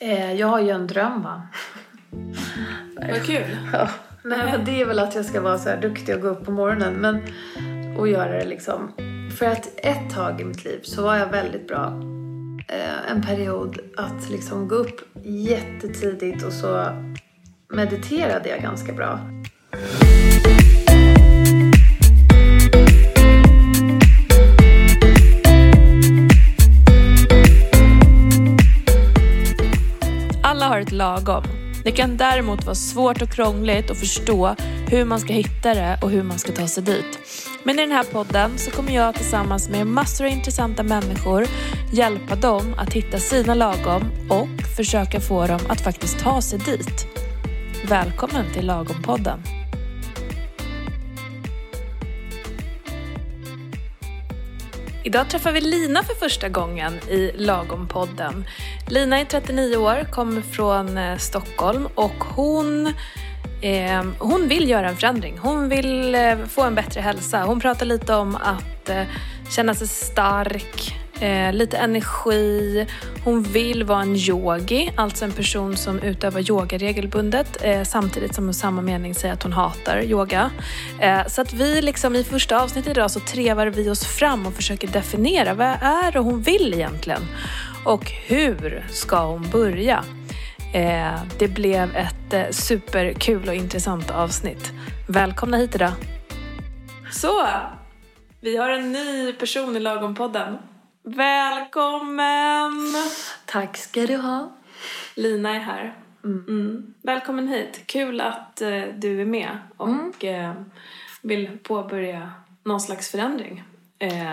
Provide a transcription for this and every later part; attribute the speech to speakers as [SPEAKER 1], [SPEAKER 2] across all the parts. [SPEAKER 1] Eh, jag har ju en dröm va.
[SPEAKER 2] Vad kul.
[SPEAKER 1] Ja. Nej, men det är väl att jag ska vara så här duktig och gå upp på morgonen men, och göra det liksom. För att ett tag i mitt liv så var jag väldigt bra eh, en period att liksom gå upp jättetidigt och så mediterade jag ganska bra.
[SPEAKER 2] Alla har ett lagom. Det kan däremot vara svårt och krångligt att förstå hur man ska hitta det och hur man ska ta sig dit. Men i den här podden så kommer jag tillsammans med massor av intressanta människor hjälpa dem att hitta sina lagom och försöka få dem att faktiskt ta sig dit. Välkommen till Lagompodden. Idag träffar vi Lina för första gången i Lagompodden. Lina är 39 år, kommer från eh, Stockholm och hon, eh, hon vill göra en förändring. Hon vill eh, få en bättre hälsa. Hon pratar lite om att eh, känna sig stark, eh, lite energi. Hon vill vara en yogi, alltså en person som utövar yoga regelbundet eh, samtidigt som hon i samma mening säger att hon hatar yoga. Eh, så att vi liksom i första avsnittet idag så trevar vi oss fram och försöker definiera vad är det hon vill egentligen? Och hur ska hon börja? Eh, det blev ett eh, superkul och intressant avsnitt. Välkomna hit idag! Så, vi har en ny person i Lagom-podden. Välkommen!
[SPEAKER 1] Tack ska du ha.
[SPEAKER 2] Lina är här. Mm. Välkommen hit. Kul att eh, du är med och eh, vill påbörja någon slags förändring. Eh,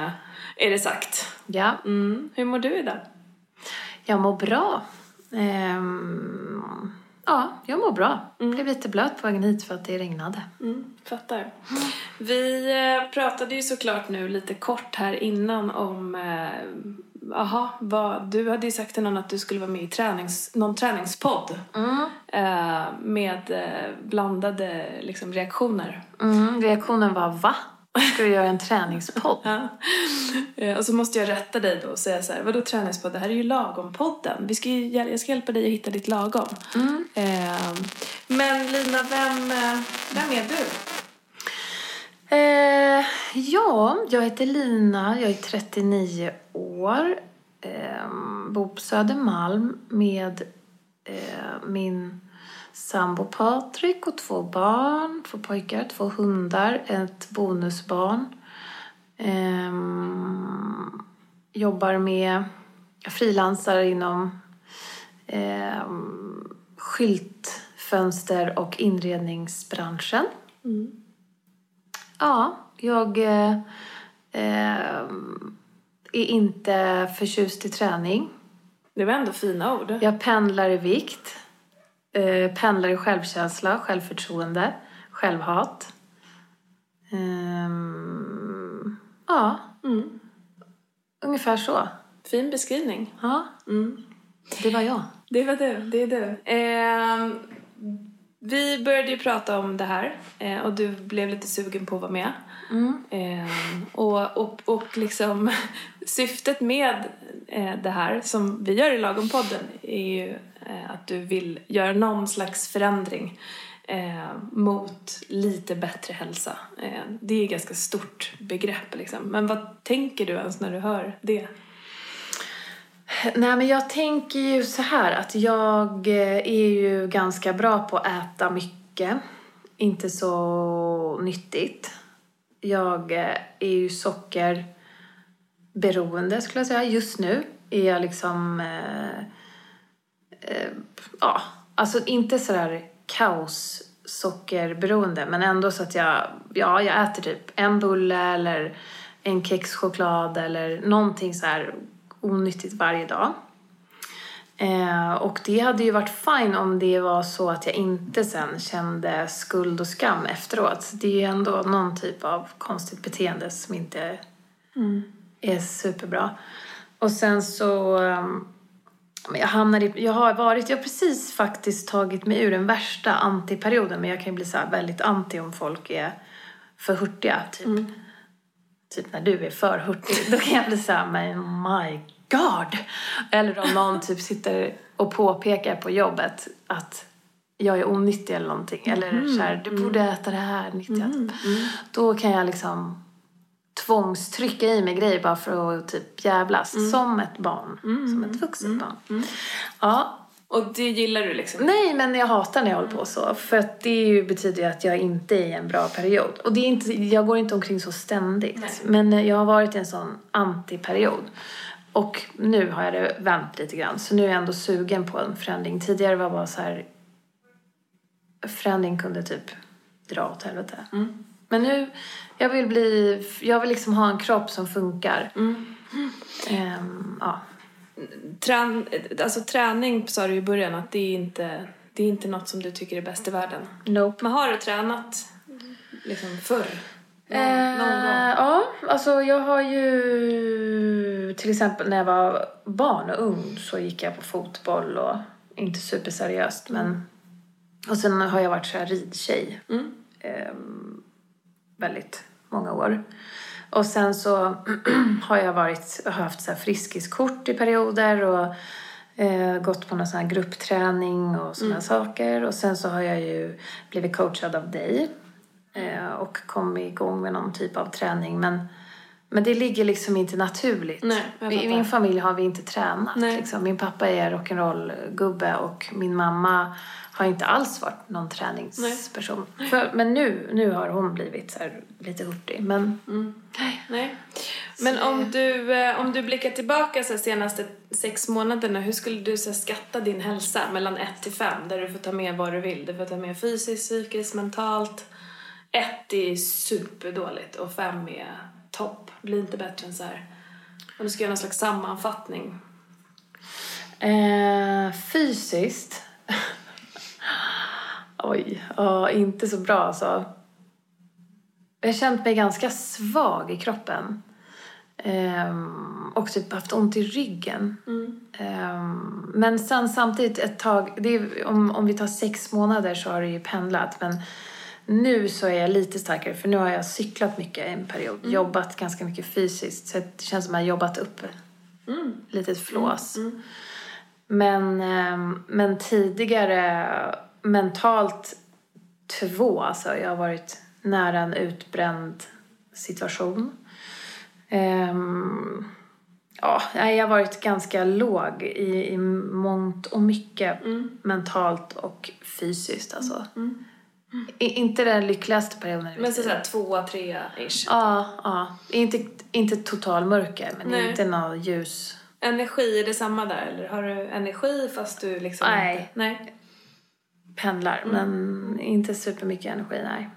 [SPEAKER 2] är det sagt.
[SPEAKER 1] Ja,
[SPEAKER 2] Mm. Hur mår du idag?
[SPEAKER 1] jag mår bra. Ehm, ja, jag mår bra. Blev lite blöt på vägen hit för att det regnade.
[SPEAKER 2] Mm, fattar. Vi eh, pratade ju såklart nu lite kort här innan om eh, aha, vad, du hade ju sagt till någon att du skulle vara med i tränings, någon träningspodd
[SPEAKER 1] Mm.
[SPEAKER 2] eh, med eh, blandade liksom, reaktioner.
[SPEAKER 1] Mm, reaktionen var va? Ska du göra en träningspodd?
[SPEAKER 2] Ja. Eh, och så måste jag rätta dig då och säga så här, vadå träningspodd? Det här är ju lagom-podden. Vi ska ju, hjäl- jag ska hjälpa dig att hitta ditt lagom.
[SPEAKER 1] Mm.
[SPEAKER 2] Eh, men Lina, vem, eh, vem är du?
[SPEAKER 1] Eh, ja, jag heter Lina, jag är 39 år. Eh, bor på Södermalm med eh, min sambo Patrik och två barn. Två pojkar, två hundar, ett bonusbarn. Ehm, jobbar med, jag frilansar inom ehm, skyltfönster och inredningsbranschen. Ja, jag eh, eh, är inte förtjust i träning.
[SPEAKER 2] Det var ändå fina ord.
[SPEAKER 1] Jag pendlar i vikt, eh, pendlar i självkänsla, självförtroende, självhat. Ehm, ja,
[SPEAKER 2] Mm.
[SPEAKER 1] ungefär så.
[SPEAKER 2] Fin beskrivning.
[SPEAKER 1] Ja,
[SPEAKER 2] Mm.
[SPEAKER 1] det var jag.
[SPEAKER 2] Det var du, det är du. Eh, vi började ju prata om det här eh, och du blev lite sugen på att vara med.
[SPEAKER 1] Mm.
[SPEAKER 2] Eh, och, och, och liksom syftet med eh, det här som vi gör i Lagom-podden är ju eh, att du vill göra någon slags förändring eh, mot lite bättre hälsa. Eh, det är ett ganska stort begrepp liksom. Men vad tänker du ens när du hör det?
[SPEAKER 1] Nej, men jag tänker ju så här att jag eh, är ju ganska bra på att äta mycket. Inte så nyttigt. Jag eh, är ju sockerberoende skulle jag säga. Just nu är jag liksom... Eh, eh, ja, alltså inte sådär kaos sockerberoende men ändå så att jag, ja, jag äter typ en bulle eller en kexchoklad eller någonting så här onyttigt varje dag. Eh, och det hade ju varit fine om det var så att jag inte sen kände skuld och skam efteråt. Så det är ju ändå någon typ av konstigt beteende som inte är superbra. Och sen så... ehm, men jag, hamnar i, jag har varit, jag har precis faktiskt tagit mig ur den värsta antiperioden men jag kan ju bli så här väldigt anti om folk är för hurtiga. Typ, typ när du är för hurtig, då kan jag bli så här, men my god! Eller om någon typ sitter och påpekar på jobbet att jag är onyttig eller någonting. Eller så här, du borde äta det här nyttiga. Typ. Då kan jag liksom tvångstrycka i mig grejer bara för att typ jävlas. Som ett barn. Som ett vuxet barn. Ja,
[SPEAKER 2] Och det gillar du liksom?
[SPEAKER 1] Nej, men jag hatar när jag håller på så. För att det är ju, betyder ju att jag inte är i en bra period. Och det är inte, jag går inte omkring så ständigt.
[SPEAKER 2] Nej.
[SPEAKER 1] Men eh, jag har varit i en sån antiperiod. Och nu har jag det vänt lite grann. Så nu är jag ändå sugen på en förändring. Tidigare var det bara så här... Förändring kunde typ dra åt helvete. Men nu, jag vill bli... Jag vill liksom ha en kropp som funkar. Ehm, ja.
[SPEAKER 2] Trän, alltså träning sa du i början att det är inte det är inte något som du tycker är bäst i världen.
[SPEAKER 1] Nope.
[SPEAKER 2] Men har du tränat liksom förr? Någon,
[SPEAKER 1] Eh,
[SPEAKER 2] någon gång?
[SPEAKER 1] Ja, alltså jag har ju... Till exempel när jag var barn och ung så gick jag på fotboll och inte superseriöst men... Och sen har jag varit så här ridtjej.
[SPEAKER 2] Mm.
[SPEAKER 1] Ehm, väldigt många år. Och sen så har jag varit, har haft så här friskiskort i perioder och eh, gått på någon sån här gruppträning och sådana
[SPEAKER 2] Mm.
[SPEAKER 1] saker. Och sen så har jag ju blivit coachad av dig eh, och kommit igång med någon typ av träning. Men, men det ligger liksom inte naturligt.
[SPEAKER 2] Nej, jag
[SPEAKER 1] I
[SPEAKER 2] fattar.
[SPEAKER 1] min familj har vi inte tränat.
[SPEAKER 2] Nej.
[SPEAKER 1] Liksom. Min pappa är rock'n'roll-gubbe och min mamma har inte alls varit någon träningsperson. För, men nu, nu har hon blivit så här, lite hurtig. Men nej.
[SPEAKER 2] Nej. Men om du, eh, om du blickar tillbaka så här, senaste sex månaderna, hur skulle du så här, skatta din hälsa mellan 1 till 5? Där du får ta med vad du vill. Du får ta med fysiskt, psykiskt, mentalt. 1 är superdåligt och 5 är topp. Blir inte bättre än så här. Om du ska göra någon slags sammanfattning.
[SPEAKER 1] Eh, fysiskt. Oj, ja, inte så bra alltså. Jag har känt mig ganska svag i kroppen. Ehm, och typ haft ont i ryggen. Ehm, men sen samtidigt ett tag, det är, om, om vi tar sex månader så har det ju pendlat. Men nu så är jag lite starkare för nu har jag cyklat mycket en period. Jobbat ganska mycket fysiskt. Så det känns som att jag har jobbat upp ett litet flås.
[SPEAKER 2] Mm.
[SPEAKER 1] Men, ehm, men tidigare mentalt två alltså. Jag har varit nära en utbränd situation. Ehm, ja, nej, jag har varit ganska låg i, i mångt och mycket
[SPEAKER 2] Mm.
[SPEAKER 1] mentalt och fysiskt alltså. I, inte den lyckligaste perioden. i mitt
[SPEAKER 2] Mm. Men så
[SPEAKER 1] liv.
[SPEAKER 2] såhär tvåa, trea-ish.
[SPEAKER 1] Ja, ja. Inte, inte total mörker, men
[SPEAKER 2] Nej.
[SPEAKER 1] inte någon ljus.
[SPEAKER 2] Energi, är det samma där? Eller har du energi fast du liksom
[SPEAKER 1] Nej.
[SPEAKER 2] inte... Nej.
[SPEAKER 1] Pendlar, men inte supermycket energi, nej.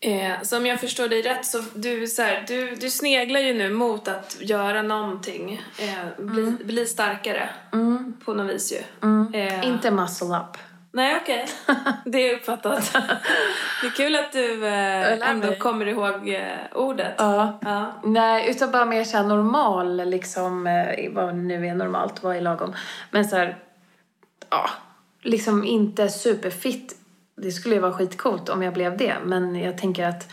[SPEAKER 2] Eh, så om jag förstår dig rätt så, du, så här, du, du sneglar ju nu mot att göra någonting. Eh, bli,
[SPEAKER 1] Mm.
[SPEAKER 2] bli starkare. På något vis ju. Eh,
[SPEAKER 1] Inte muscle up.
[SPEAKER 2] Nej, okej. Det är uppfattat. det är kul att du eh,
[SPEAKER 1] lär
[SPEAKER 2] ändå
[SPEAKER 1] mig.
[SPEAKER 2] kommer ihåg eh, ordet.
[SPEAKER 1] Ja.
[SPEAKER 2] Ja.
[SPEAKER 1] Nej, utan bara mer såhär normal, liksom, eh, vad nu är normalt, vad är lagom. Men såhär, ja, liksom inte superfit. Det skulle ju vara skitcoolt om jag blev det, men jag tänker att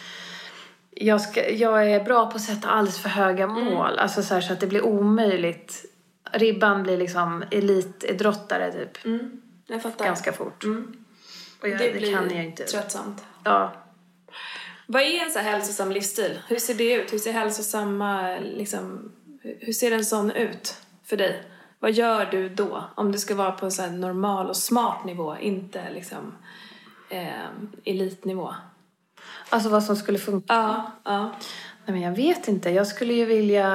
[SPEAKER 1] jag, ska, jag är bra på att sätta alldeles för höga mål, alltså så, här, så att det blir omöjligt. Ribban blir liksom elitidrottare typ,
[SPEAKER 2] Mm, jag fattar.
[SPEAKER 1] ganska fort. Och jag, det,
[SPEAKER 2] det blir
[SPEAKER 1] kan jag inte.
[SPEAKER 2] tröttsamt.
[SPEAKER 1] Ja,
[SPEAKER 2] Vad är en så här hälsosam livsstil? Hur ser det ut? Hur ser hälsosamma, liksom, hur hur ser en sån ut för dig? Vad gör du då? Om du ska vara på en så här normal och smart nivå, inte liksom eh, elitnivå.
[SPEAKER 1] alltså vad som skulle funka.
[SPEAKER 2] Ja, ja.
[SPEAKER 1] Nej, men jag vet inte. Jag skulle ju vilja...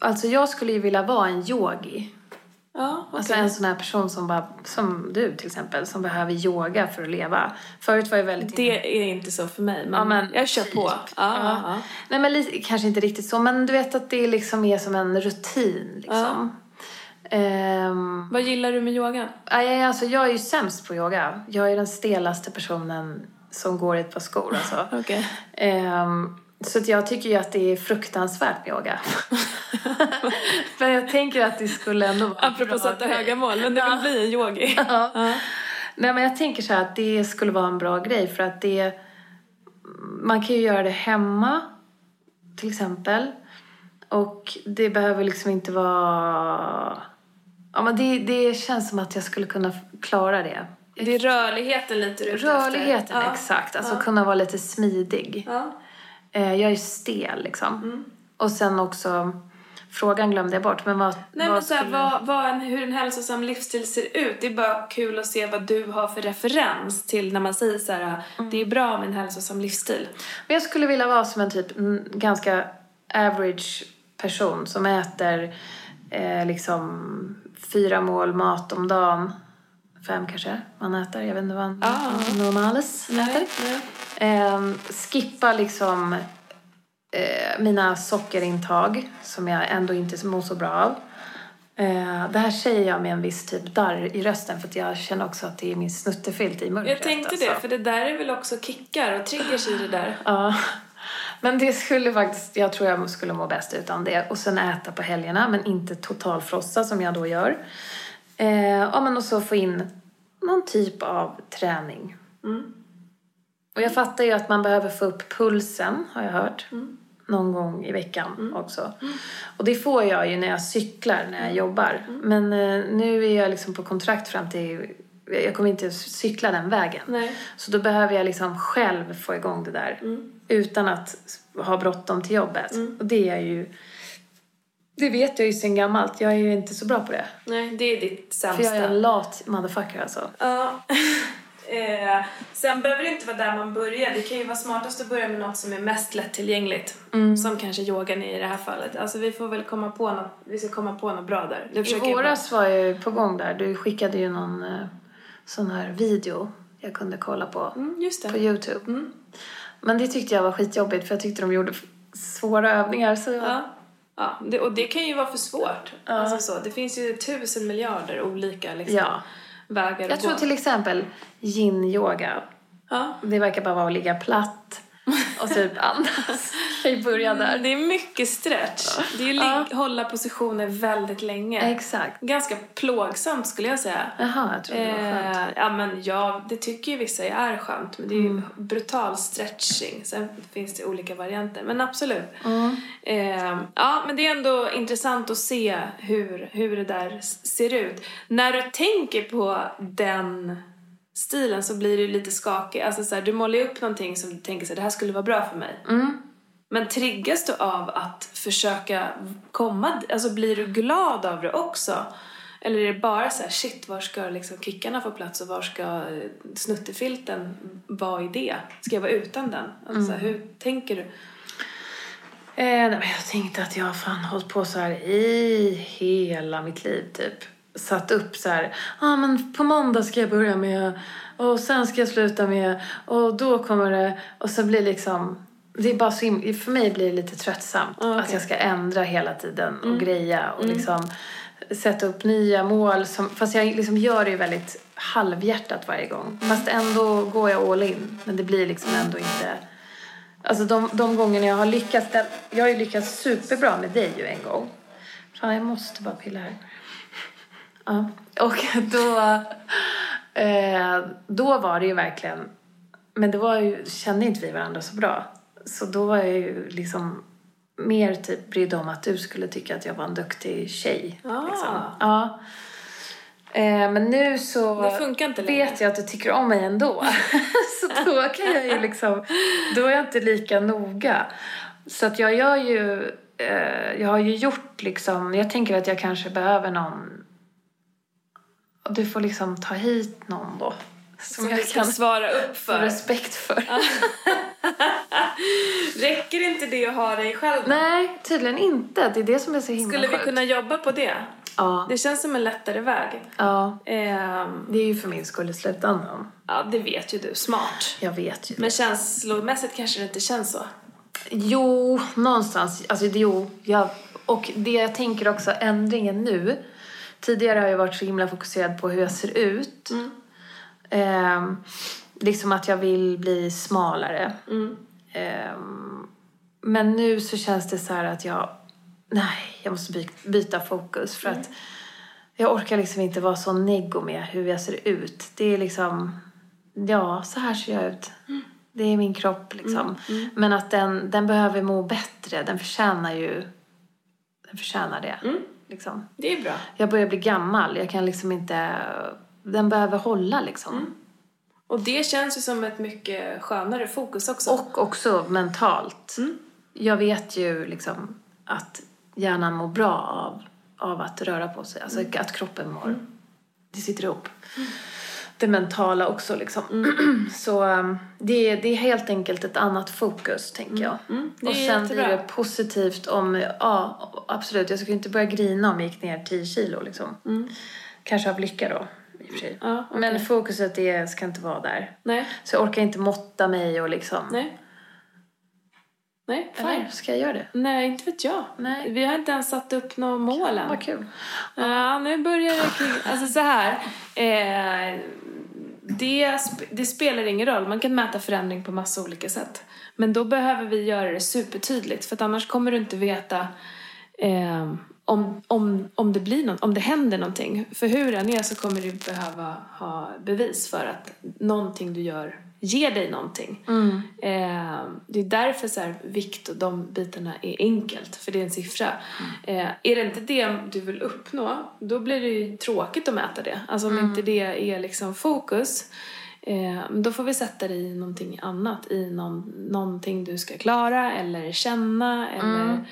[SPEAKER 1] Alltså jag skulle ju vilja vara en yogi.
[SPEAKER 2] Ja, okej.
[SPEAKER 1] Alltså en sån här person som bara, som du till exempel, som behöver yoga för att leva. Förut var jag väldigt...
[SPEAKER 2] Det är inte så för mig, men,
[SPEAKER 1] Ja, men
[SPEAKER 2] jag kör på. Ja,
[SPEAKER 1] typ.
[SPEAKER 2] ja. Ja.
[SPEAKER 1] Nej men lite, kanske inte riktigt så, men du vet att det liksom är som en rutin liksom. Ehm,
[SPEAKER 2] Vad gillar du med yogan?
[SPEAKER 1] nej, alltså jag är ju sämst på yoga. Jag är den stelaste personen som går i ett par skor alltså.
[SPEAKER 2] Okej.
[SPEAKER 1] Ehm, så att jag tycker ju att det är fruktansvärt med yoga. Men jag tänker att det skulle ändå vara en
[SPEAKER 2] Apropå
[SPEAKER 1] bra
[SPEAKER 2] sätta
[SPEAKER 1] grej.
[SPEAKER 2] höga mål, men det vill bli en yogi.
[SPEAKER 1] Ja. Nej men jag tänker så här att det skulle vara en bra grej för att det... Man kan ju göra det hemma till exempel. Och det behöver liksom inte vara... Ja, men det, det känns som att jag skulle kunna klara det.
[SPEAKER 2] Det är rörligheten lite du är ute efter.
[SPEAKER 1] Rörligheten,
[SPEAKER 2] Ja,
[SPEAKER 1] exakt. Alltså
[SPEAKER 2] ja.
[SPEAKER 1] kunna vara lite smidig.
[SPEAKER 2] Ja. Mm.
[SPEAKER 1] Eh, jag är stel liksom. Och sen också, frågan glömde jag bort, men vad...
[SPEAKER 2] Nej
[SPEAKER 1] vad
[SPEAKER 2] men såhär,
[SPEAKER 1] skulle-
[SPEAKER 2] vad, vad en, hur en hälsosam livsstil ser ut. Det är bara kul att se vad du har för referens till när man säger så här, "Ah,
[SPEAKER 1] Mm.
[SPEAKER 2] det är bra med en hälsosam livsstil.
[SPEAKER 1] Men jag skulle vilja vara som en typ mm, ganska average person som äter eh, liksom fyra mål mat om dagen. Fem kanske man äter, jag vet inte vad en
[SPEAKER 2] Ja.
[SPEAKER 1] normales äter.
[SPEAKER 2] Ah. nej.
[SPEAKER 1] Eh, skippa liksom eh, mina sockerintag som jag ändå inte mår så bra av. Eh, det här säger jag med en viss typ darr i rösten för att jag känner också att det är min snuttefilt i mörkret.
[SPEAKER 2] Jag tänkte
[SPEAKER 1] alltså. Ah.
[SPEAKER 2] det, för det där är väl också kickar och triggers i det där.
[SPEAKER 1] Ja. Men det skulle faktiskt, jag tror jag skulle må bäst utan det. Och sen äta på helgerna, men inte totalfrossa som jag då gör. Eh, ja, men och så få in någon typ av träning. Och jag fattar ju att man behöver få upp pulsen, har jag hört. Någon gång i veckan också. Och det får jag ju när jag cyklar, när jag jobbar. Men eh, nu är jag liksom på kontrakt fram till... Jag kommer inte cykla den vägen.
[SPEAKER 2] Nej.
[SPEAKER 1] Så då behöver jag liksom själv få igång det där. Utan att s- ha bråttom till jobbet. Och det är jag ju... Det vet jag ju sen gammalt. Jag är ju inte så bra på det.
[SPEAKER 2] Nej, det är ditt
[SPEAKER 1] För jag är
[SPEAKER 2] sämsta.
[SPEAKER 1] en lat motherfucker alltså.
[SPEAKER 2] Ja. eh, sen behöver det inte vara där man börjar. Det kan ju vara smartast att börja med något som är mest lättillgängligt.
[SPEAKER 1] Mm.
[SPEAKER 2] Som kanske yogan är i det här fallet. Alltså vi får väl komma på något, vi ska komma på något bra där. Nu
[SPEAKER 1] I
[SPEAKER 2] försöker jag bara-
[SPEAKER 1] våras var jag ju på gång där. Du skickade ju någon eh, sån här video jag kunde kolla på.
[SPEAKER 2] Mm, just
[SPEAKER 1] På
[SPEAKER 2] det. Mm.
[SPEAKER 1] Youtube. Men det tyckte jag var skitjobbigt för jag tyckte de gjorde f- svåra övningar. Så jag...
[SPEAKER 2] Ja. Ja, det, och det kan ju vara för svårt. Alltså så. Det finns ju tusen miljarder olika liksom,
[SPEAKER 1] Ja.
[SPEAKER 2] vägar
[SPEAKER 1] Jag
[SPEAKER 2] att
[SPEAKER 1] tror
[SPEAKER 2] gå.
[SPEAKER 1] till exempel yin-yoga.
[SPEAKER 2] Ja.
[SPEAKER 1] Det verkar bara vara att ligga platt och typ andas. Vi börjar där.
[SPEAKER 2] Det är mycket stretch. Det är ju lig- hålla positioner väldigt länge.
[SPEAKER 1] Exakt.
[SPEAKER 2] Ganska plågsamt skulle jag säga.
[SPEAKER 1] Jaha, jag trodde det var skönt. Mm.
[SPEAKER 2] Eh, ja, men ja, det tycker ju vissa är skönt, men det är ju brutal stretching. Sen finns det olika varianter, men absolut.
[SPEAKER 1] Mm.
[SPEAKER 2] Eh, ja, men det är ändå intressant att se hur, hur det där s- ser ut. När du tänker på den stilen så blir du lite skakig. Alltså så här, du målar ju upp någonting som du tänker så här, det här skulle vara bra för mig.
[SPEAKER 1] Mm.
[SPEAKER 2] Men triggas du av att försöka komma, alltså blir du glad av det också? Eller är det bara så här, shit, var ska liksom kickarna få plats och var ska eh, snuttefilten vara i det? Ska jag vara utan den? Alltså, så här, hur tänker du?
[SPEAKER 1] Eh, nej, men jag tänkte att jag har fan hållit på så här i hela mitt liv typ. Satt upp så här, ah, men på måndag ska jag börja med och sen ska jag sluta med och då kommer det och så blir liksom det är bara så him- för mig blir det lite tröttsamt
[SPEAKER 2] Ja, okej.
[SPEAKER 1] att jag ska ändra hela tiden och greja och liksom sätta upp nya mål som, fast jag liksom gör det ju väldigt halvhjärtat varje gång. Fast ändå går jag all in men det blir liksom ändå inte Alltså de, de gångerna jag har lyckats, den, jag har ju lyckats superbra med dig ju en gång. Fan, jag måste bara pilla här. Ja. Och då, eh, då var det ju verkligen, men det var ju, kände inte vi varandra så bra. Så då var jag ju liksom mer typ brydd om att du skulle tycka att jag var en duktig tjej.
[SPEAKER 2] Ah.
[SPEAKER 1] Liksom. Ja. Eh, men nu så
[SPEAKER 2] Det funkar inte längre.
[SPEAKER 1] vet jag att du tycker om mig ändå. så då kan jag ju liksom, då är jag inte lika noga. Så att jag gör ju, eh, jag har ju gjort liksom, jag tänker att jag kanske behöver någon, du får liksom ta hit någon då. Som,
[SPEAKER 2] Som du
[SPEAKER 1] jag
[SPEAKER 2] ska
[SPEAKER 1] kan
[SPEAKER 2] svara upp
[SPEAKER 1] få
[SPEAKER 2] för.
[SPEAKER 1] respekt för.
[SPEAKER 2] Räcker inte det att ha dig själv?
[SPEAKER 1] Nej, tydligen inte. Det är det som är så himla
[SPEAKER 2] Skulle vi
[SPEAKER 1] sjukt.
[SPEAKER 2] kunna jobba på det?
[SPEAKER 1] Ja,
[SPEAKER 2] Det känns som en lättare väg.
[SPEAKER 1] ja.
[SPEAKER 2] Ehm,
[SPEAKER 1] Det är ju för min skull i slutändan.
[SPEAKER 2] ja, det vet ju du. Smart.
[SPEAKER 1] Jag vet ju
[SPEAKER 2] Men känslomässigt kanske det inte känns så.
[SPEAKER 1] Jo, någonstans. Alltså, det- jo, jag, och det jag tänker också, ändringen nu. Tidigare har jag varit så himla fokuserad på hur jag ser ut. Ehm, liksom att jag vill bli smalare. Ehm, men nu så känns det så här att jag... Nej, jag måste by, byta fokus. För att jag orkar liksom inte vara så neggo med hur jag ser ut. Det är liksom... Ja, så här ser jag ut. Det är min kropp liksom. Men att den, den behöver må bättre. Den förtjänar ju Den förtjänar det.
[SPEAKER 2] Mm.
[SPEAKER 1] Liksom.
[SPEAKER 2] Det är bra.
[SPEAKER 1] Jag börjar bli gammal. Jag kan liksom inte... Den behöver hålla liksom.
[SPEAKER 2] Och det känns ju som ett mycket skönare fokus också.
[SPEAKER 1] Och också mentalt.
[SPEAKER 2] Mm.
[SPEAKER 1] Jag vet ju liksom att hjärnan mår bra av, av att röra på sig.
[SPEAKER 2] Mm.
[SPEAKER 1] Alltså att kroppen mår. Det sitter ihop. Det mentala också liksom.
[SPEAKER 2] Mm.
[SPEAKER 1] Så um, det, är- det är helt enkelt ett annat fokus tänker jag.
[SPEAKER 2] Mm, det
[SPEAKER 1] Och
[SPEAKER 2] är
[SPEAKER 1] sen
[SPEAKER 2] jättebra.
[SPEAKER 1] blir det positivt om, ja absolut, jag skulle inte börja grina om jag gick ner 10 kilo liksom. Kanske av lycka då, i och för sig.
[SPEAKER 2] Mm. Ja, okej.
[SPEAKER 1] Men fokuset är, ska inte vara där.
[SPEAKER 2] Nej,
[SPEAKER 1] Så jag orkar inte måtta mig och liksom...
[SPEAKER 2] nej. Nej, fine.
[SPEAKER 1] Eller ska jag göra det?
[SPEAKER 2] Nej, inte vet jag.
[SPEAKER 1] Nej.
[SPEAKER 2] Vi har inte ens satt upp några mål än.
[SPEAKER 1] Vad kul.
[SPEAKER 2] Ja, nu börjar det kring... Alltså så här. Eh, det, sp- det spelar ingen roll. Man kan mäta förändring på massa olika sätt. Men då behöver vi göra det supertydligt. För att annars kommer du inte veta eh, om, om, om, det blir någon, om det händer någonting. För hur den är så kommer du behöva ha bevis för att någonting du gör ger dig någonting.
[SPEAKER 1] Mm.
[SPEAKER 2] Eh, det är därför så här, vikt och de bitarna är enkelt, för det är en siffra.
[SPEAKER 1] Mm.
[SPEAKER 2] Eh, är det inte det du vill uppnå, då blir det ju tråkigt att mäta det. Alltså om
[SPEAKER 1] Mm.
[SPEAKER 2] inte det är liksom fokus, eh, då får vi sätta det i någonting annat. I någon, någonting du ska klara eller känna eller...
[SPEAKER 1] Mm.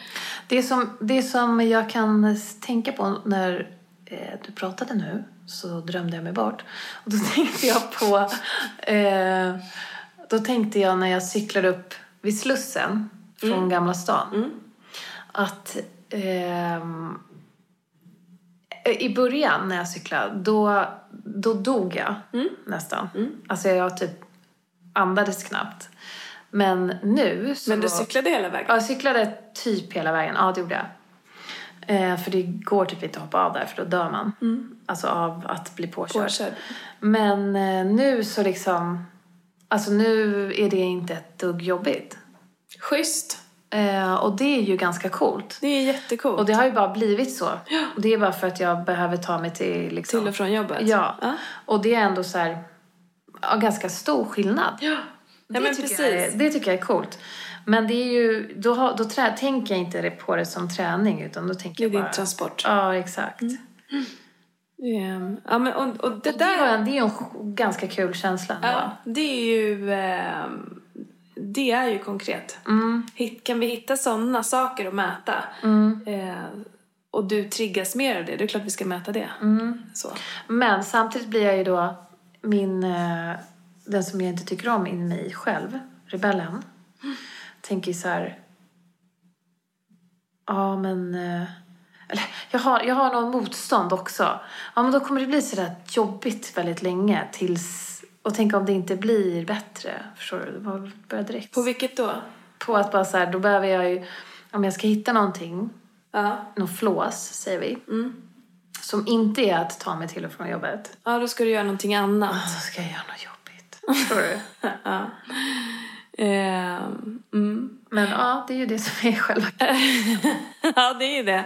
[SPEAKER 1] Det som, det som jag kan tänka på när eh, du pratade nu så drömde jag mig bort. Och då tänkte jag på... Eh, då tänkte jag när jag cyklade upp vid Slussen från
[SPEAKER 2] Mm.
[SPEAKER 1] Gamla stan att ehm, i början när jag cyklade, då, då dog jag
[SPEAKER 2] Mm.
[SPEAKER 1] nästan. Alltså jag typ andades knappt. Men nu så
[SPEAKER 2] Men du
[SPEAKER 1] var-
[SPEAKER 2] cyklade hela
[SPEAKER 1] Ja,
[SPEAKER 2] vägen?
[SPEAKER 1] jag cyklade typ hela vägen. Ja, det gjorde jag. Eh, för det går typ inte att hoppa av där, för då dör man. Alltså av att bli påkörd.
[SPEAKER 2] Mm. Påkörd.
[SPEAKER 1] Men eh, nu så liksom... Alltså nu är det inte ett dugg jobbigt.
[SPEAKER 2] Schysst!
[SPEAKER 1] Eh, och det är ju ganska coolt.
[SPEAKER 2] Det är jättecoolt.
[SPEAKER 1] Och det har ju bara blivit så. Och det är bara för att jag behöver ta mig till... Liksom,
[SPEAKER 2] Till och från jobbet?
[SPEAKER 1] Ja.
[SPEAKER 2] Ja.
[SPEAKER 1] Och det är ändå så här... Ja, ganska stor skillnad.
[SPEAKER 2] ja. Nej, men
[SPEAKER 1] det,
[SPEAKER 2] precis.
[SPEAKER 1] tycker jag är, det tycker jag är coolt. Men det är ju, då, har- då trä, tänker jag inte på det som träning utan då tänker
[SPEAKER 2] Det är
[SPEAKER 1] jag bara...
[SPEAKER 2] din transport.
[SPEAKER 1] Ja, exakt.
[SPEAKER 2] Ehm, Ja, men, och, och det
[SPEAKER 1] Det,
[SPEAKER 2] där...
[SPEAKER 1] är, en- det är ju en sj- ganska kul känsla ändå.
[SPEAKER 2] Ja, det är ju... ehm, Det är ju konkret. Hitt- Kan vi hitta sådana saker att mäta? Eh, och du triggas mer av det, det är klart vi ska mäta det. Så.
[SPEAKER 1] Men samtidigt blir jag ju då min, eh, den som jag inte tycker om in mig själv, rebellen. Tänker ju så här... Ja, men... eh, Eller, jag har, jag har någon motstånd också. Ja, men då kommer det bli sådär jobbigt väldigt länge tills... Och tänk om det inte blir bättre. Förstår du? Det bara börjar direkt.
[SPEAKER 2] På
[SPEAKER 1] På,
[SPEAKER 2] vilket då?
[SPEAKER 1] att bara så här, då behöver jag ju... Om jag ska hitta någonting,
[SPEAKER 2] Ja.
[SPEAKER 1] någon flås, säger vi. Som inte är att ta mig till och från jobbet.
[SPEAKER 2] ja, då ska du göra någonting annat.
[SPEAKER 1] Ah, Så ska jag göra något jobbigt. Förstår du?
[SPEAKER 2] Ja. Ehm, mm.
[SPEAKER 1] Men ja, det är ju det som är själva...
[SPEAKER 2] ja, det är ju det.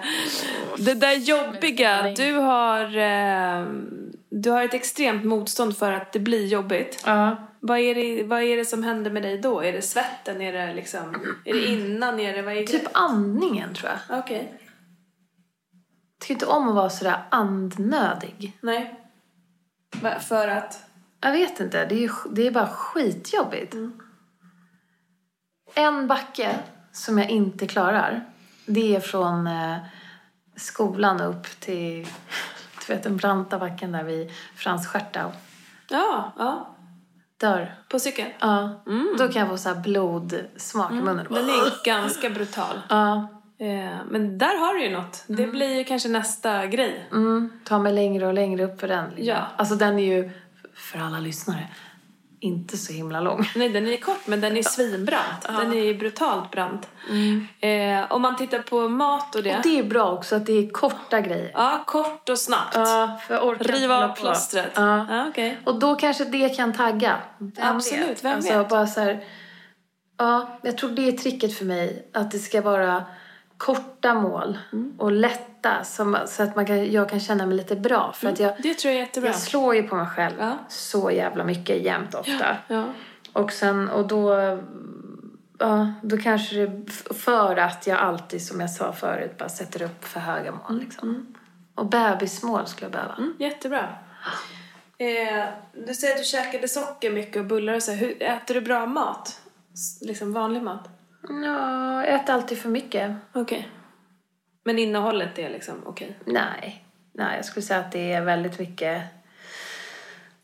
[SPEAKER 2] Det där jobbiga, du har, ehm, du har ett extremt motstånd för att det blir jobbigt.
[SPEAKER 1] Ja.
[SPEAKER 2] Vad är, det, vad är det som händer med dig då? Är det svetten? Är det, liksom, är det innan? Är det, vad är
[SPEAKER 1] Typ andningen, tror jag.
[SPEAKER 2] det? Okej.
[SPEAKER 1] Tycker inte om att vara sådär andnödig.
[SPEAKER 2] Nej. Va- För att?
[SPEAKER 1] Jag vet inte, det är, ju, det är bara skitjobbigt. En backe som jag inte klarar, det är från eh, skolan upp till du vet, den branta backen där vid Frans Stjärtau
[SPEAKER 2] Ja, ja.
[SPEAKER 1] dör.
[SPEAKER 2] På cykeln?
[SPEAKER 1] Ja. Mm. Då kan jag få så här blodsmak i munnen.
[SPEAKER 2] Den är ganska brutal.
[SPEAKER 1] Ja.
[SPEAKER 2] Eh, Men där har du ju något. Det blir ju kanske nästa grej.
[SPEAKER 1] Mm, ta mig längre och längre upp för den.
[SPEAKER 2] Ja.
[SPEAKER 1] Alltså den är ju, för alla lyssnare, inte så himla lång.
[SPEAKER 2] Nej, den är kort men den är svinbrant. Den är ju brutalt brant. Eh, om man tittar på mat och det.
[SPEAKER 1] Mm. Och det är bra också att det är korta grejer.
[SPEAKER 2] Ja, kort och snabbt.
[SPEAKER 1] Ja, för jag orkar inte
[SPEAKER 2] Riva
[SPEAKER 1] hålla
[SPEAKER 2] av
[SPEAKER 1] på.
[SPEAKER 2] plåstret.
[SPEAKER 1] Ja.
[SPEAKER 2] Ja, okej.
[SPEAKER 1] Och då kanske det kan tagga. Vem
[SPEAKER 2] Absolut,
[SPEAKER 1] vet?
[SPEAKER 2] vem
[SPEAKER 1] alltså,
[SPEAKER 2] vet?
[SPEAKER 1] Bara så här, ja, jag tror det är tricket för mig. Att det ska vara korta mål
[SPEAKER 2] Mm.
[SPEAKER 1] och lätta. Som, så att man kan, jag kan känna mig lite bra. För att jag,
[SPEAKER 2] Mm. Det tror jag är jättebra.
[SPEAKER 1] jag slår ju på mig själv
[SPEAKER 2] Ja.
[SPEAKER 1] så jävla mycket jämt ofta.
[SPEAKER 2] Ja.
[SPEAKER 1] Och sen, och då ja, då kanske det, f- för att jag alltid, som jag sa förut, bara sätter upp för höga mål liksom. Och bebismål skulle jag behöva.
[SPEAKER 2] Mm. Jättebra. Eh, du säger att du käkade socker mycket och bullar och så. Hur, äter du bra mat? S- Liksom vanlig mat?
[SPEAKER 1] Ja, jag äter alltid för mycket.
[SPEAKER 2] Okej. Men innehållet är liksom okej?
[SPEAKER 1] Nej. Nej, jag skulle säga att det är väldigt mycket...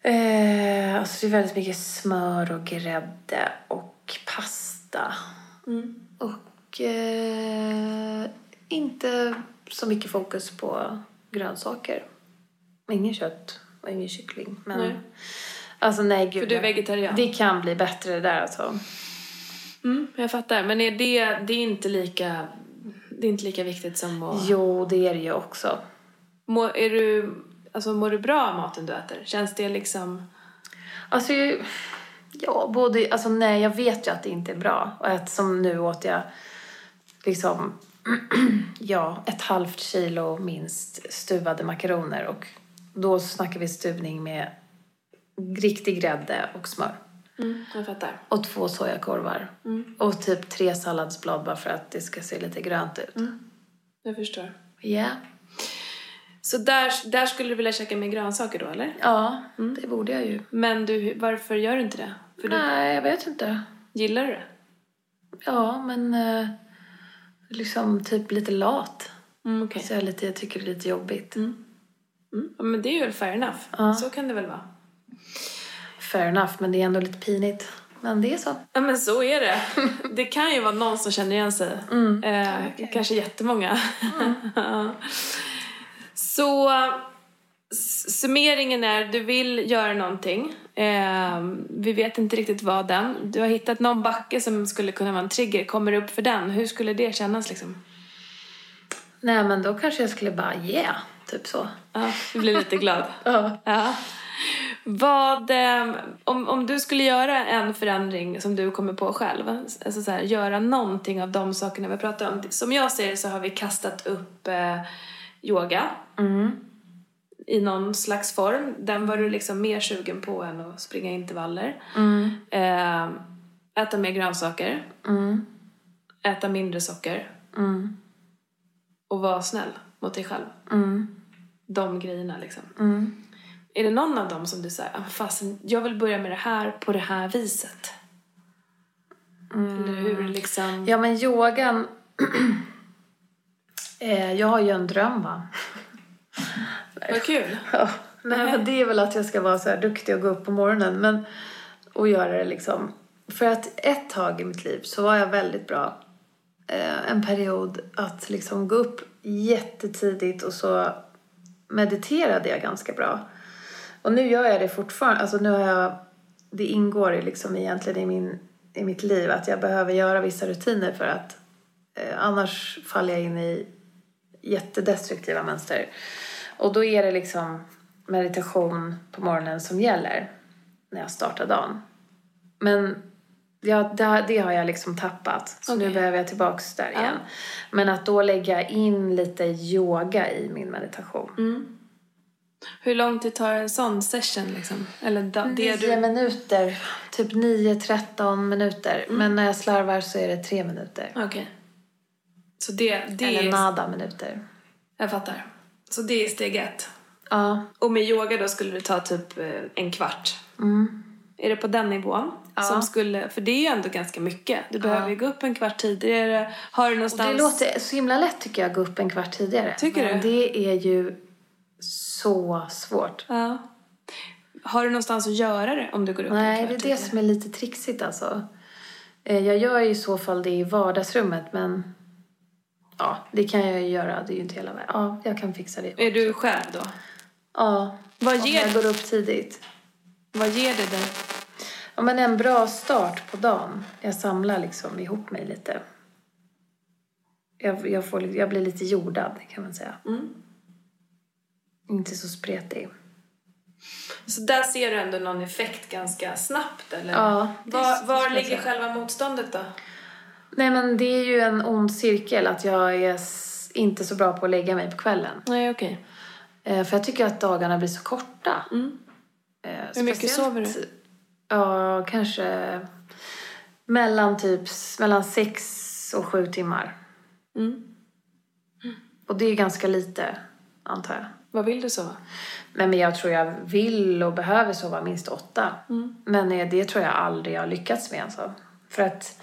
[SPEAKER 1] Eh, alltså det är väldigt mycket smör och grädde och pasta.
[SPEAKER 2] Mm.
[SPEAKER 1] Och eh, inte så mycket fokus på grönsaker. Ingen kött och ingen kyckling. Men,
[SPEAKER 2] Nej.
[SPEAKER 1] Alltså nej, gud.
[SPEAKER 2] För du är vegetarian?
[SPEAKER 1] Det kan bli bättre det där alltså.
[SPEAKER 2] Mm, jag fattar. Men är det, det, är inte lika, det är inte lika viktigt som att...
[SPEAKER 1] Jo, det är det ju också.
[SPEAKER 2] Må, är du, alltså, mår du bra av maten du äter? Känns det liksom...
[SPEAKER 1] Alltså, ju- ja, både, alltså nej, jag vet ju att det inte är bra. Och att som nu åt jag liksom, ja, ett halvt kilo minst stuvade makaroner. Och då snackar vi stuvning med riktig grädde och smör.
[SPEAKER 2] Mm, jag fattar.
[SPEAKER 1] Och två sojakorvar. Och typ tre salladsblad bara för att det ska se lite grönt ut. Ja.
[SPEAKER 2] Jag förstår. Så där, där skulle du vilja käka mer grönsaker då, eller?
[SPEAKER 1] Ja, det borde jag ju.
[SPEAKER 2] Men du, varför gör du inte det? För du,
[SPEAKER 1] Nej, jag vet inte.
[SPEAKER 2] gillar du det?
[SPEAKER 1] Ja, men eh, liksom typ lite lat.
[SPEAKER 2] Mm, okej.
[SPEAKER 1] Så jag, är lite, jag tycker det är lite jobbigt.
[SPEAKER 2] Mm. ja, Men det är ju fair enough.
[SPEAKER 1] Ja.
[SPEAKER 2] Så kan det väl vara.
[SPEAKER 1] Fair enough, men det är ändå lite pinigt. Men det är så.
[SPEAKER 2] Ja men så är det. Det kan ju vara någon som känner igen sig. Eh, Kanske jättemånga. Ja. så s- summeringen är, du vill göra någonting. Eh, vi vet inte riktigt vad den. Du har hittat någon backe som skulle kunna vara en trigger. Kommer du upp för den? Hur skulle det kännas liksom?
[SPEAKER 1] Nej, men då kanske jag skulle bara yeah, typ så.
[SPEAKER 2] Ja, du blir lite glad.
[SPEAKER 1] Ja.
[SPEAKER 2] Ja. Vad, eh, om, om du skulle göra en förändring som du kommer på själv, alltså så här, göra någonting av de sakerna vi pratar om. Som jag ser det så har vi kastat upp eh, yoga
[SPEAKER 1] Mm,
[SPEAKER 2] i någon slags form. Den var du liksom mer sugen på än att springa intervaller. Eh, äta mer grönsaker.
[SPEAKER 1] mm,
[SPEAKER 2] Äta mindre socker. Och vara snäll mot dig själv.
[SPEAKER 1] mm,
[SPEAKER 2] De grejerna liksom. Är det någon av dem som du säger, "Ah, fasen, jag vill börja med det här på det här viset? Eller
[SPEAKER 1] Mm.
[SPEAKER 2] hur liksom...
[SPEAKER 1] Ja, men yogan... eh, jag har ju en dröm, va?
[SPEAKER 2] Vad kul!
[SPEAKER 1] Ja. Nej, men det är väl att jag ska vara så här duktig och gå upp på morgonen men, och göra det liksom. För att ett tag i mitt liv så var jag väldigt bra eh, en period att liksom gå upp jättetidigt och så mediterade jag ganska bra. Och nu gör jag det fortfarande. Alltså nu har jag, det ingår ju liksom egentligen i, min, i mitt liv att jag behöver göra vissa rutiner för att eh, annars faller jag in i jättedestruktiva mönster. Och då är det liksom meditation på morgonen som gäller när jag startar dagen. Men ja, det, det har jag liksom tappat. Så nu
[SPEAKER 2] Okej.
[SPEAKER 1] behöver jag tillbaks där igen. Men att då lägga in lite yoga i min meditation.
[SPEAKER 2] Mm. Hur lång tid tar en sån session liksom? Eller da- det
[SPEAKER 1] 10
[SPEAKER 2] du...
[SPEAKER 1] minuter. Typ 9-13 minuter.
[SPEAKER 2] Mm.
[SPEAKER 1] Men när jag slarvar så är det 3 minuter.
[SPEAKER 2] Okej. Så det, det
[SPEAKER 1] Eller
[SPEAKER 2] är...
[SPEAKER 1] nada minuter.
[SPEAKER 2] Jag fattar. Så det är steg ett.
[SPEAKER 1] Ja.
[SPEAKER 2] Och med yoga då skulle det ta typ eh, en kvart?
[SPEAKER 1] Mm.
[SPEAKER 2] Är det på den nivån? Som skulle, för det är ju ändå ganska mycket. Du behöver ju gå upp en kvart tidigare. Har du någonstans...
[SPEAKER 1] Det låter så himla lätt tycker jag att gå upp en kvart tidigare.
[SPEAKER 2] Tycker
[SPEAKER 1] Men
[SPEAKER 2] du?
[SPEAKER 1] det är ju så svårt.
[SPEAKER 2] Ja. Har du någonstans att göra det om du går upp en
[SPEAKER 1] Nej,
[SPEAKER 2] kvart
[SPEAKER 1] det är det
[SPEAKER 2] tidigare?
[SPEAKER 1] som är lite trixigt alltså. Eh, Jag gör ju i så fall det i vardagsrummet men ja, det kan jag ju göra. Det är ju inte hela världen. Ja, jag kan fixa det.
[SPEAKER 2] Är du själv då?
[SPEAKER 1] Ja,
[SPEAKER 2] Vad
[SPEAKER 1] om
[SPEAKER 2] ger,
[SPEAKER 1] jag går upp tidigt.
[SPEAKER 2] vad ger det dig?
[SPEAKER 1] Ja, men en bra start på dagen. Jag samlar liksom ihop mig lite. Jag, jag, får, jag blir lite jordad kan man säga. Inte så spretig.
[SPEAKER 2] Så där ser du ändå någon effekt ganska snabbt eller?
[SPEAKER 1] Ja, det
[SPEAKER 2] Var,
[SPEAKER 1] skulle
[SPEAKER 2] var
[SPEAKER 1] jag
[SPEAKER 2] ligger
[SPEAKER 1] säga.
[SPEAKER 2] själva motståndet då?
[SPEAKER 1] Nej men det är ju en ond cirkel att jag är s- inte så bra på att lägga mig på kvällen.
[SPEAKER 2] Nej, okej.
[SPEAKER 1] Eh, för jag tycker att dagarna blir så korta. Eh,
[SPEAKER 2] Mm. Hur mycket
[SPEAKER 1] speciellt-
[SPEAKER 2] sover du?
[SPEAKER 1] Ja, kanske Mellan typ s- mellan sex och sju timmar.
[SPEAKER 2] Mm.
[SPEAKER 1] Och det är ju ganska lite, antar jag.
[SPEAKER 2] Vad vill du sova?
[SPEAKER 1] Nej, men jag tror jag vill och behöver sova minst åtta.
[SPEAKER 2] Mm.
[SPEAKER 1] Men eh, det tror jag aldrig jag har lyckats med. Alltså. För att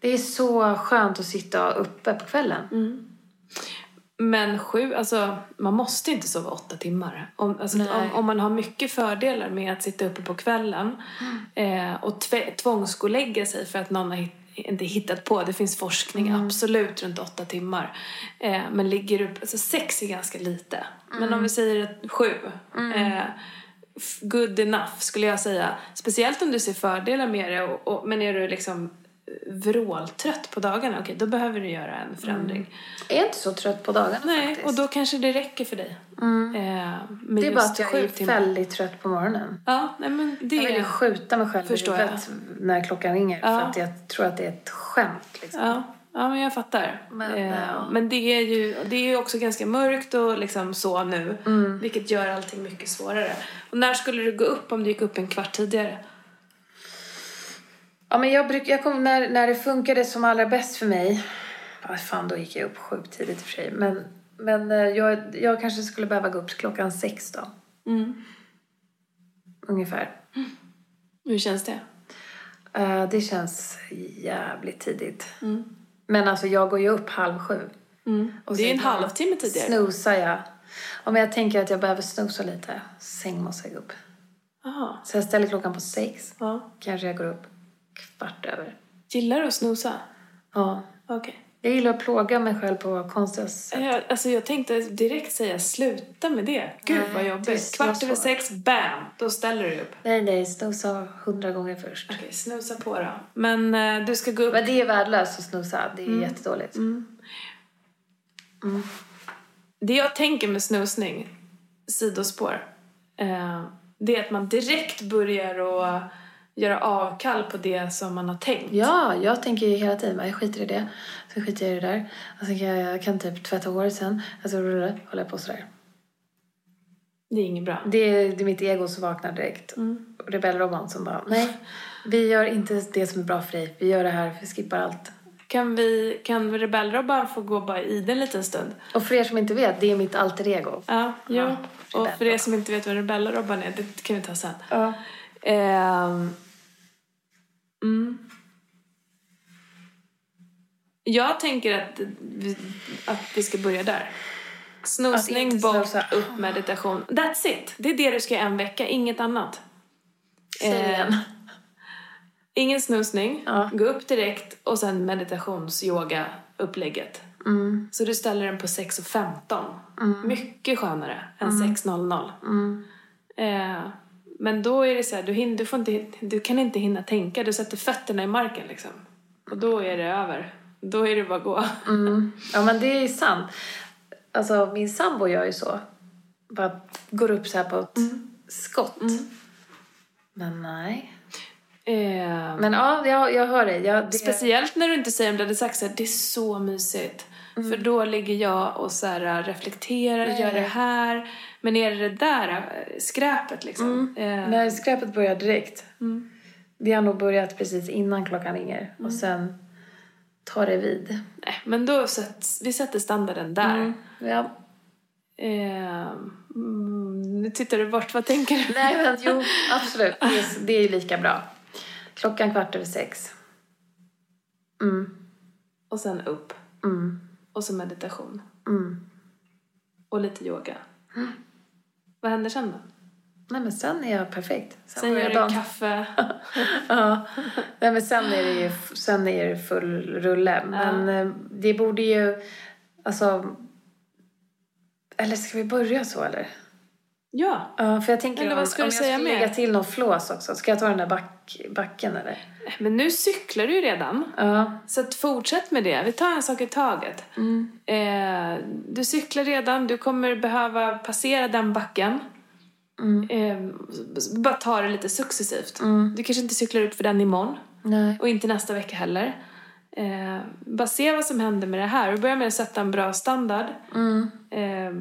[SPEAKER 1] det är så skönt att sitta uppe på kvällen.
[SPEAKER 2] Mm. Men sju, alltså man måste inte sova åtta timmar. Om, alltså,
[SPEAKER 1] Nej.
[SPEAKER 2] om, om man har mycket fördelar med att sitta uppe på kvällen eh, och tve, tvångsskolägga sig för att någon har hit, inte hittat på. Det finns forskning absolut runt åtta timmar. Eh, men ligger upp, alltså sex är ganska lite. Men om vi säger att sju. Eh, f- good enough skulle jag säga. Speciellt om du ser fördelar med det. Och, och, men är du liksom eh, vråltrött på dagarna, okej då behöver du göra en förändring.
[SPEAKER 1] Jag är inte så trött på dagarna
[SPEAKER 2] Nej,
[SPEAKER 1] faktiskt. Mm.
[SPEAKER 2] och då kanske det räcker för dig. Eh, med
[SPEAKER 1] det är bara
[SPEAKER 2] just
[SPEAKER 1] att jag
[SPEAKER 2] sju
[SPEAKER 1] är
[SPEAKER 2] timmar.
[SPEAKER 1] väldigt trött på morgonen.
[SPEAKER 2] Ja, nej men det
[SPEAKER 1] Jag vill ju
[SPEAKER 2] är...
[SPEAKER 1] skjuta mig själv
[SPEAKER 2] Förstår
[SPEAKER 1] i huvudet när klockan ringer.
[SPEAKER 2] Ja.
[SPEAKER 1] För att jag tror att det är ett skämt. Liksom.
[SPEAKER 2] Ja, ja, men jag fattar.
[SPEAKER 1] Men,
[SPEAKER 2] eh,
[SPEAKER 1] ja.
[SPEAKER 2] men det är ju det är ju också ganska mörkt och liksom så nu.
[SPEAKER 1] Mm.
[SPEAKER 2] Vilket gör allting mycket svårare. Och när skulle du gå upp om du gick upp en kvart tidigare?
[SPEAKER 1] Ja, men jag bruk, jag kom, när, när det funkade som allra bäst för mig... Ja, fan, då gick jag upp sjukt tidigt i och för sig. Men, men eh, jag, jag kanske skulle behöva gå upp klockan sex då.
[SPEAKER 2] Mm.
[SPEAKER 1] Ungefär.
[SPEAKER 2] Hur känns det?
[SPEAKER 1] Eh, det känns jävligt tidigt. Men alltså, jag går ju upp halv sju.
[SPEAKER 2] Och Mm. det är ju en
[SPEAKER 1] sen-
[SPEAKER 2] halvtimme tidigare.
[SPEAKER 1] Snosar jag. Om jag tänker att jag behöver snosa lite, sen måste jag gå upp.
[SPEAKER 2] Aha.
[SPEAKER 1] Så jag ställer klockan på sex.
[SPEAKER 2] Ja.
[SPEAKER 1] Kanske jag går upp kvart över.
[SPEAKER 2] Gillar du att snosa?
[SPEAKER 1] Ja.
[SPEAKER 2] Okej.
[SPEAKER 1] Jag gillar att plåga mig själv på konstiga sätt.
[SPEAKER 2] Jag, alltså jag tänkte direkt säga sluta med det. Gud
[SPEAKER 1] Nej,
[SPEAKER 2] vad
[SPEAKER 1] det är
[SPEAKER 2] jobbigt.
[SPEAKER 1] så
[SPEAKER 2] Kvart över
[SPEAKER 1] svårt.
[SPEAKER 2] sex, bam! Då ställer du dig upp.
[SPEAKER 1] Nej, nej, snosa hundra gånger först.
[SPEAKER 2] Okej, snusa på då. Men eh, du ska gå upp...
[SPEAKER 1] Men det är värdelöst att snosa. Det är jättedåligt.
[SPEAKER 2] Det jag tänker med snusning, sidospår, eh, det är att man direkt börjar att göra avkall på det som man har tänkt.
[SPEAKER 1] Ja, jag tänker ju hela tiden bara, jag skiter i det. Sen skiter jag i det där. Och sen kan jag, jag kan typ tvätta håret sen. Alltså, rulla, håller jag på sådär.
[SPEAKER 2] Det är inget bra.
[SPEAKER 1] Det är, det är mitt ego som vaknar direkt. Och Rebellrobban som bara, Mm. nej, vi gör inte det som är bra för dig. Vi gör det här, vi skippar allt.
[SPEAKER 2] Kan vi, kan vi rebellrobban få gå bara i den en liten stund?
[SPEAKER 1] Och för er som inte vet, det är mitt alter ego.
[SPEAKER 2] Ja, jo.
[SPEAKER 1] Ja,
[SPEAKER 2] Och för er
[SPEAKER 1] rebellrobban.
[SPEAKER 2] som inte vet vad rebellrobban är, det kan vi ta sen.
[SPEAKER 1] Ja.
[SPEAKER 2] Ehm, mm. Jag tänker att, vi- att vi ska börja där.
[SPEAKER 1] Att
[SPEAKER 2] Snosning,
[SPEAKER 1] inte
[SPEAKER 2] bort,
[SPEAKER 1] snosa.
[SPEAKER 2] upp, meditation. That's it! Det är det du ska göra en vecka, inget annat.
[SPEAKER 1] Säg
[SPEAKER 2] Eh,
[SPEAKER 1] igen.
[SPEAKER 2] Ingen snusning,
[SPEAKER 1] Ja.
[SPEAKER 2] gå upp direkt och sen meditationsyoga-upplägget. Så du ställer den på 6.15. Mycket skönare än 6.00. Eh, men då är det så här, du, hin- du, får inte, du kan inte hinna tänka, du sätter fötterna i marken liksom. Och då är det över. Då är det bara att gå.
[SPEAKER 1] Ja, men det är sant. Alltså, min sambo gör ju så. Bara går upp så här på ett
[SPEAKER 2] Mm.
[SPEAKER 1] skott. Men nej.
[SPEAKER 2] Eh,
[SPEAKER 1] Men ja, jag, jag hör dig. Jag, det,
[SPEAKER 2] Speciellt när du inte säger om du hade sagt så här, det är så mysigt. För då ligger jag och så här, äh, reflekterar, gör det här. Men är det det där eh, skräpet liksom?
[SPEAKER 1] Mm.
[SPEAKER 2] Eh,
[SPEAKER 1] När skräpet börjar direkt.
[SPEAKER 2] Mm.
[SPEAKER 1] Det har nog börjat precis innan klockan ringer. Och sen tar det vid.
[SPEAKER 2] nej, men då sätts, vi sätter standarden där.
[SPEAKER 1] Mm. Ja.
[SPEAKER 2] Eh, mm, nu tittar du bort, vad tänker du?
[SPEAKER 1] Nej, men jo, absolut. Det är, det är ju lika bra. Klockan kvart över sex.
[SPEAKER 2] Och sen upp.
[SPEAKER 1] Mm.
[SPEAKER 2] Och så meditation.
[SPEAKER 1] Mm.
[SPEAKER 2] Och lite yoga. Vad händer sen då?
[SPEAKER 1] Nej, men sen är jag perfekt.
[SPEAKER 2] Sen
[SPEAKER 1] börjar
[SPEAKER 2] gör
[SPEAKER 1] dagen.
[SPEAKER 2] du kaffe.
[SPEAKER 1] Ja, Nej, men sen är det ju sen är det full rulle. Men eh, det borde ju, alltså... Eller ska vi börja så eller?
[SPEAKER 2] Ja.
[SPEAKER 1] Ja, för jag tänker
[SPEAKER 2] Eller
[SPEAKER 1] om,
[SPEAKER 2] vad ska
[SPEAKER 1] om
[SPEAKER 2] du
[SPEAKER 1] jag
[SPEAKER 2] säga
[SPEAKER 1] ska
[SPEAKER 2] mer?
[SPEAKER 1] lägga till någon flås också. Ska jag ta den där back, backen eller?
[SPEAKER 2] Men nu cyklar du ju redan.
[SPEAKER 1] Ja.
[SPEAKER 2] Så att fortsätt med det. Vi tar en sak i taget. Eh, du cyklar redan. Du kommer behöva passera den backen. Eh, s- bara ta det lite successivt. Du kanske inte cyklar upp för den imorgon.
[SPEAKER 1] Nej.
[SPEAKER 2] Och inte nästa vecka heller. Eh, bara se vad som händer med det här. Och börja med att sätta en bra standard. Eh,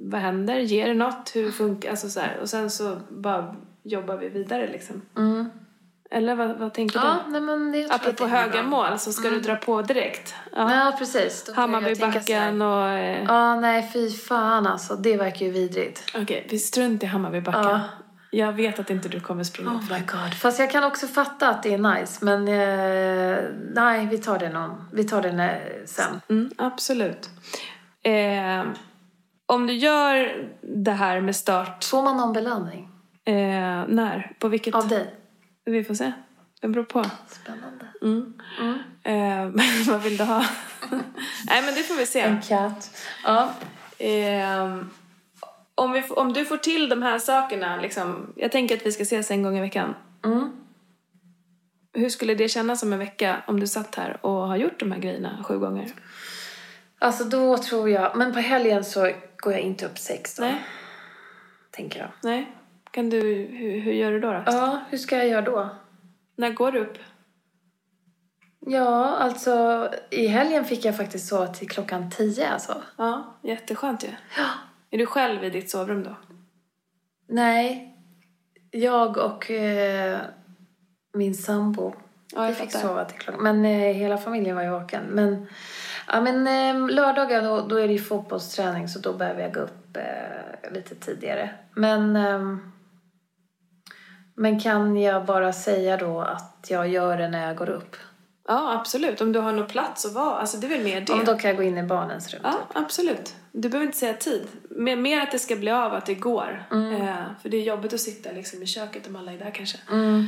[SPEAKER 2] vad händer? Ger det något? Hur funkar Alltså så här. Och sen så bara jobbar vi vidare liksom. Eller vad, vad tänker
[SPEAKER 1] Ja,
[SPEAKER 2] du?
[SPEAKER 1] nej men det tror jag att
[SPEAKER 2] Apropå
[SPEAKER 1] det Mm. är
[SPEAKER 2] höga
[SPEAKER 1] bra.
[SPEAKER 2] mål så ska du dra på direkt. Ja.
[SPEAKER 1] Ja, precis. Då kan jag tänka så här.
[SPEAKER 2] Hammarbybacken och... Eh,
[SPEAKER 1] Ja, nej fy fan alltså. Det verkar ju vidrigt.
[SPEAKER 2] Okej, vi struntar i Hammarbybacken.
[SPEAKER 1] Ja.
[SPEAKER 2] Jag vet att inte du kommer springa upp
[SPEAKER 1] Oh my
[SPEAKER 2] den.
[SPEAKER 1] god. Fast jag kan också fatta att det är nice. Men eh, nej, vi tar det någon. Vi tar den eh, sen.
[SPEAKER 2] Mm, absolut. Eh, om du gör det här med start...
[SPEAKER 1] Får man någon belöning?
[SPEAKER 2] Eh, när? På vilket...
[SPEAKER 1] Av dig?
[SPEAKER 2] Vi får se. Det beror på.
[SPEAKER 1] Spännande.
[SPEAKER 2] Mm. Eh, vad vill du ha? Nej, men det får vi se.
[SPEAKER 1] En katt. Ja.
[SPEAKER 2] Ehm, om, vi, f- om du får till de här sakerna, liksom, jag tänker att vi ska ses en gång i veckan.
[SPEAKER 1] Mm.
[SPEAKER 2] Hur skulle det kännas om en vecka om du satt här och har gjort de här grejerna sju gånger?
[SPEAKER 1] Alltså då tror jag... Men på helgen så går jag inte upp sex då.
[SPEAKER 2] Nej.
[SPEAKER 1] Tänker jag.
[SPEAKER 2] Nej? Kan du, hur, hur gör du då? då?
[SPEAKER 1] Ja, hur ska jag göra då?
[SPEAKER 2] När går du upp?
[SPEAKER 1] Ja, alltså i helgen fick jag faktiskt sova till klockan tio alltså.
[SPEAKER 2] Ja, jätteskönt ju.
[SPEAKER 1] Ja.
[SPEAKER 2] Är du själv i ditt sovrum då?
[SPEAKER 1] Nej. Jag och eh, min sambo.
[SPEAKER 2] Ja,
[SPEAKER 1] vi fick sova till klockan. Men eh, hela familjen var ju vaken. Men, ja, men eh, lördagar då, då är det ju fotbollsträning så då behöver jag gå upp eh, lite tidigare. Men, ehm, men kan jag bara säga då att jag gör det när jag går upp?
[SPEAKER 2] Ja, absolut. Om du har någon plats att vara. Alltså, det är väl mer det.
[SPEAKER 1] Om då kan jag gå in i barnens rum.
[SPEAKER 2] Ja, absolut. Du behöver inte säga tid. Mer, mer att det ska bli av, att det går. Eh, för det är jobbigt att sitta liksom, i köket om alla är där kanske.
[SPEAKER 1] Mm.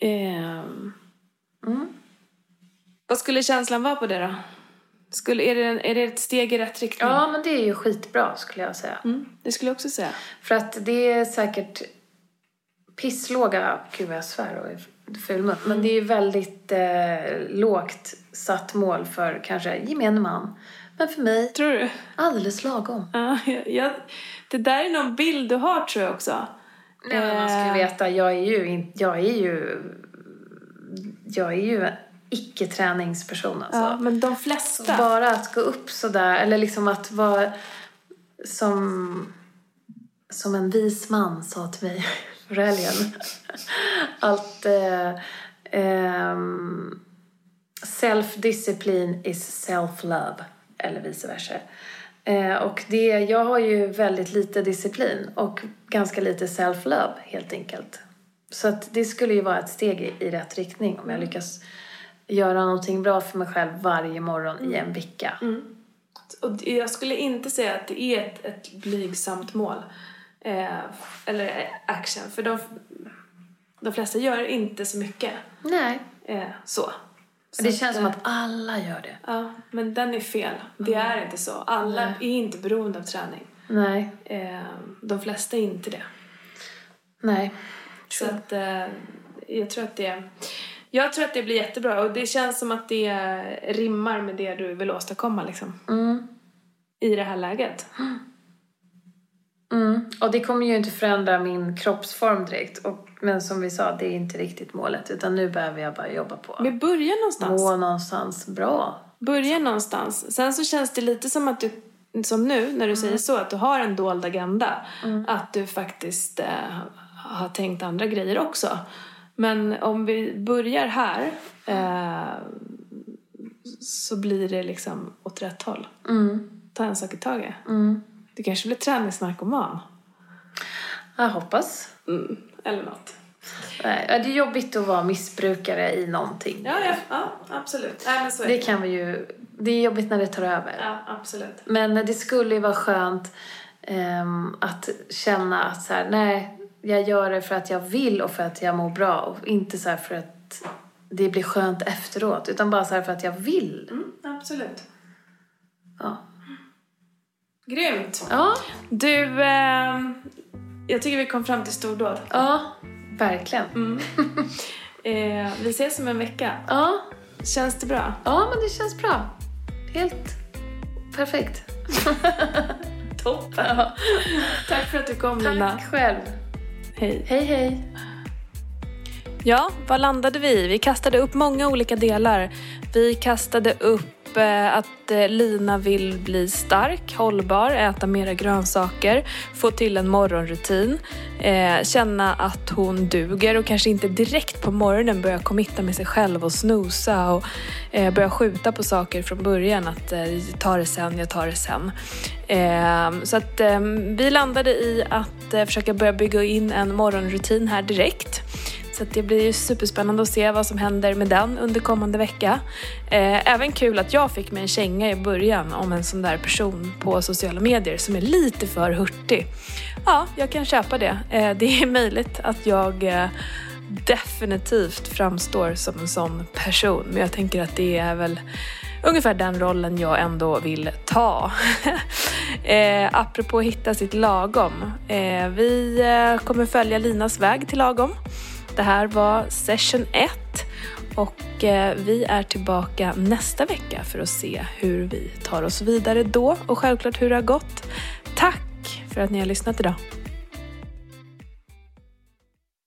[SPEAKER 2] Ehm,
[SPEAKER 1] Mm.
[SPEAKER 2] Vad skulle känslan vara på det då? Skulle, är, det en, är det ett steg i rätt riktning?
[SPEAKER 1] Ja, men det är ju skitbra skulle jag säga.
[SPEAKER 2] Mm, det skulle jag också säga.
[SPEAKER 1] För att det är säkert pisslåga, gud vad jag svär och är ful mun, men det är ju väldigt eh, lågt satt mål för kanske gemene man. Men för mig,
[SPEAKER 2] Tror du?
[SPEAKER 1] alldeles lagom.
[SPEAKER 2] Ja, jag, jag, det där är någon bild du har tror jag också.
[SPEAKER 1] Nej, men man ska ju
[SPEAKER 2] Eh.
[SPEAKER 1] veta, jag är ju, in, jag är ju, jag är ju en icke-träningsperson alltså.
[SPEAKER 2] Ja, men de
[SPEAKER 1] Så
[SPEAKER 2] flesta.
[SPEAKER 1] Bara att gå upp sådär, eller liksom att vara som, som en vis man sa till mig förra helgen. Allt... Eh, ehm, self-discipline is self-love, eller vice versa. Eh, och det, jag har ju väldigt lite disciplin och ganska lite self-love, helt enkelt. Så att det skulle ju vara ett steg i, i rätt riktning om jag lyckas göra någonting bra för mig själv varje morgon i en vecka.
[SPEAKER 2] Och det- jag skulle inte säga att det är ett, ett blygsamt mål. Eh, eller action. För de, de flesta gör inte så mycket.
[SPEAKER 1] Nej.
[SPEAKER 2] Eh, så. Så
[SPEAKER 1] Det känns som
[SPEAKER 2] eh,
[SPEAKER 1] att Mm. alla gör det.
[SPEAKER 2] Ja, men den är fel. Det är inte så. Alla är inte beroende av träning.
[SPEAKER 1] Nej.
[SPEAKER 2] Eh, de flesta är inte det.
[SPEAKER 1] Nej.
[SPEAKER 2] Så att, eh, jag tror att det... Jag tror att det blir jättebra och det känns som att det rimmar med det du vill åstadkomma liksom.
[SPEAKER 1] Mm.
[SPEAKER 2] I det här läget.
[SPEAKER 1] Mm. Och det kommer ju inte förändra min kroppsform direkt. Och, men som vi sa, det är inte riktigt målet. Utan nu behöver jag bara jobba på.
[SPEAKER 2] Men börja någonstans.
[SPEAKER 1] Må någonstans bra.
[SPEAKER 2] Börja någonstans. Sen så känns det lite som att du, som nu
[SPEAKER 1] Mm.
[SPEAKER 2] när du säger så, att du har en dold agenda. Att du faktiskt eh, har tänkt andra grejer också. Men om vi börjar här eh, så blir det liksom åt rätt håll.
[SPEAKER 1] Mm.
[SPEAKER 2] Ta en sak i taget.
[SPEAKER 1] Mm.
[SPEAKER 2] Du kanske blir träningsnarkoman.
[SPEAKER 1] Jag hoppas.
[SPEAKER 2] Mm. Eller något.
[SPEAKER 1] Nej, ja, Det är jobbigt att vara missbrukare i någonting.
[SPEAKER 2] Ja, ja, ja absolut. Nej, men så är
[SPEAKER 1] Det
[SPEAKER 2] det.
[SPEAKER 1] kan vi ju... Det är jobbigt när det tar över.
[SPEAKER 2] Ja, absolut.
[SPEAKER 1] Men det skulle ju vara skönt ehm, att känna att så här, nej, jag gör det för att jag vill och för att jag mår bra och inte så här för att det blir skönt efteråt utan bara så här för att jag vill.
[SPEAKER 2] Mm, absolut.
[SPEAKER 1] Ja.
[SPEAKER 2] Grymt!
[SPEAKER 1] Ja,
[SPEAKER 2] Du, ehm, jag tycker vi kom fram till stordåd.
[SPEAKER 1] ja verkligen.
[SPEAKER 2] Eh, vi ses om en vecka.
[SPEAKER 1] Ja,
[SPEAKER 2] Känns det bra?
[SPEAKER 1] ja, men det känns bra. Helt perfekt.
[SPEAKER 2] Toppen! Tack för att du kom Lina.
[SPEAKER 1] Tack själv.
[SPEAKER 2] Hej.
[SPEAKER 1] Hej, hej.
[SPEAKER 2] Ja, vad landade vi i? Vi kastade upp många olika delar. Vi kastade upp eh, att eh, Lina vill bli stark, hållbar, äta mera grönsaker, få till en morgonrutin, eh, känna att hon duger och kanske inte direkt på morgonen börja committa med sig själv och snosa och eh, börja skjuta på saker från början. Att eh, ta det sen, jag tar det sen. Eh, så att eh, vi landade i att eh, försöka börja bygga in en morgonrutin här direkt. Så att det blir ju superspännande att se vad som händer med den under kommande vecka. Eh, även kul att jag fick mig en känga i början om en sån där person på sociala medier som är lite för hurtig. Ja, jag kan köpa det. Eh, det är möjligt att jag eh, definitivt framstår som en sån person. Men jag tänker att det är väl ungefär den rollen jag ändå vill ta. eh, apropå hitta sitt lagom. Eh, vi eh, kommer följa Linas väg till lagom. Det här var session 1 och eh, vi är tillbaka nästa vecka för att se hur vi tar oss vidare då och självklart hur det har gått. Tack för att ni har lyssnat idag.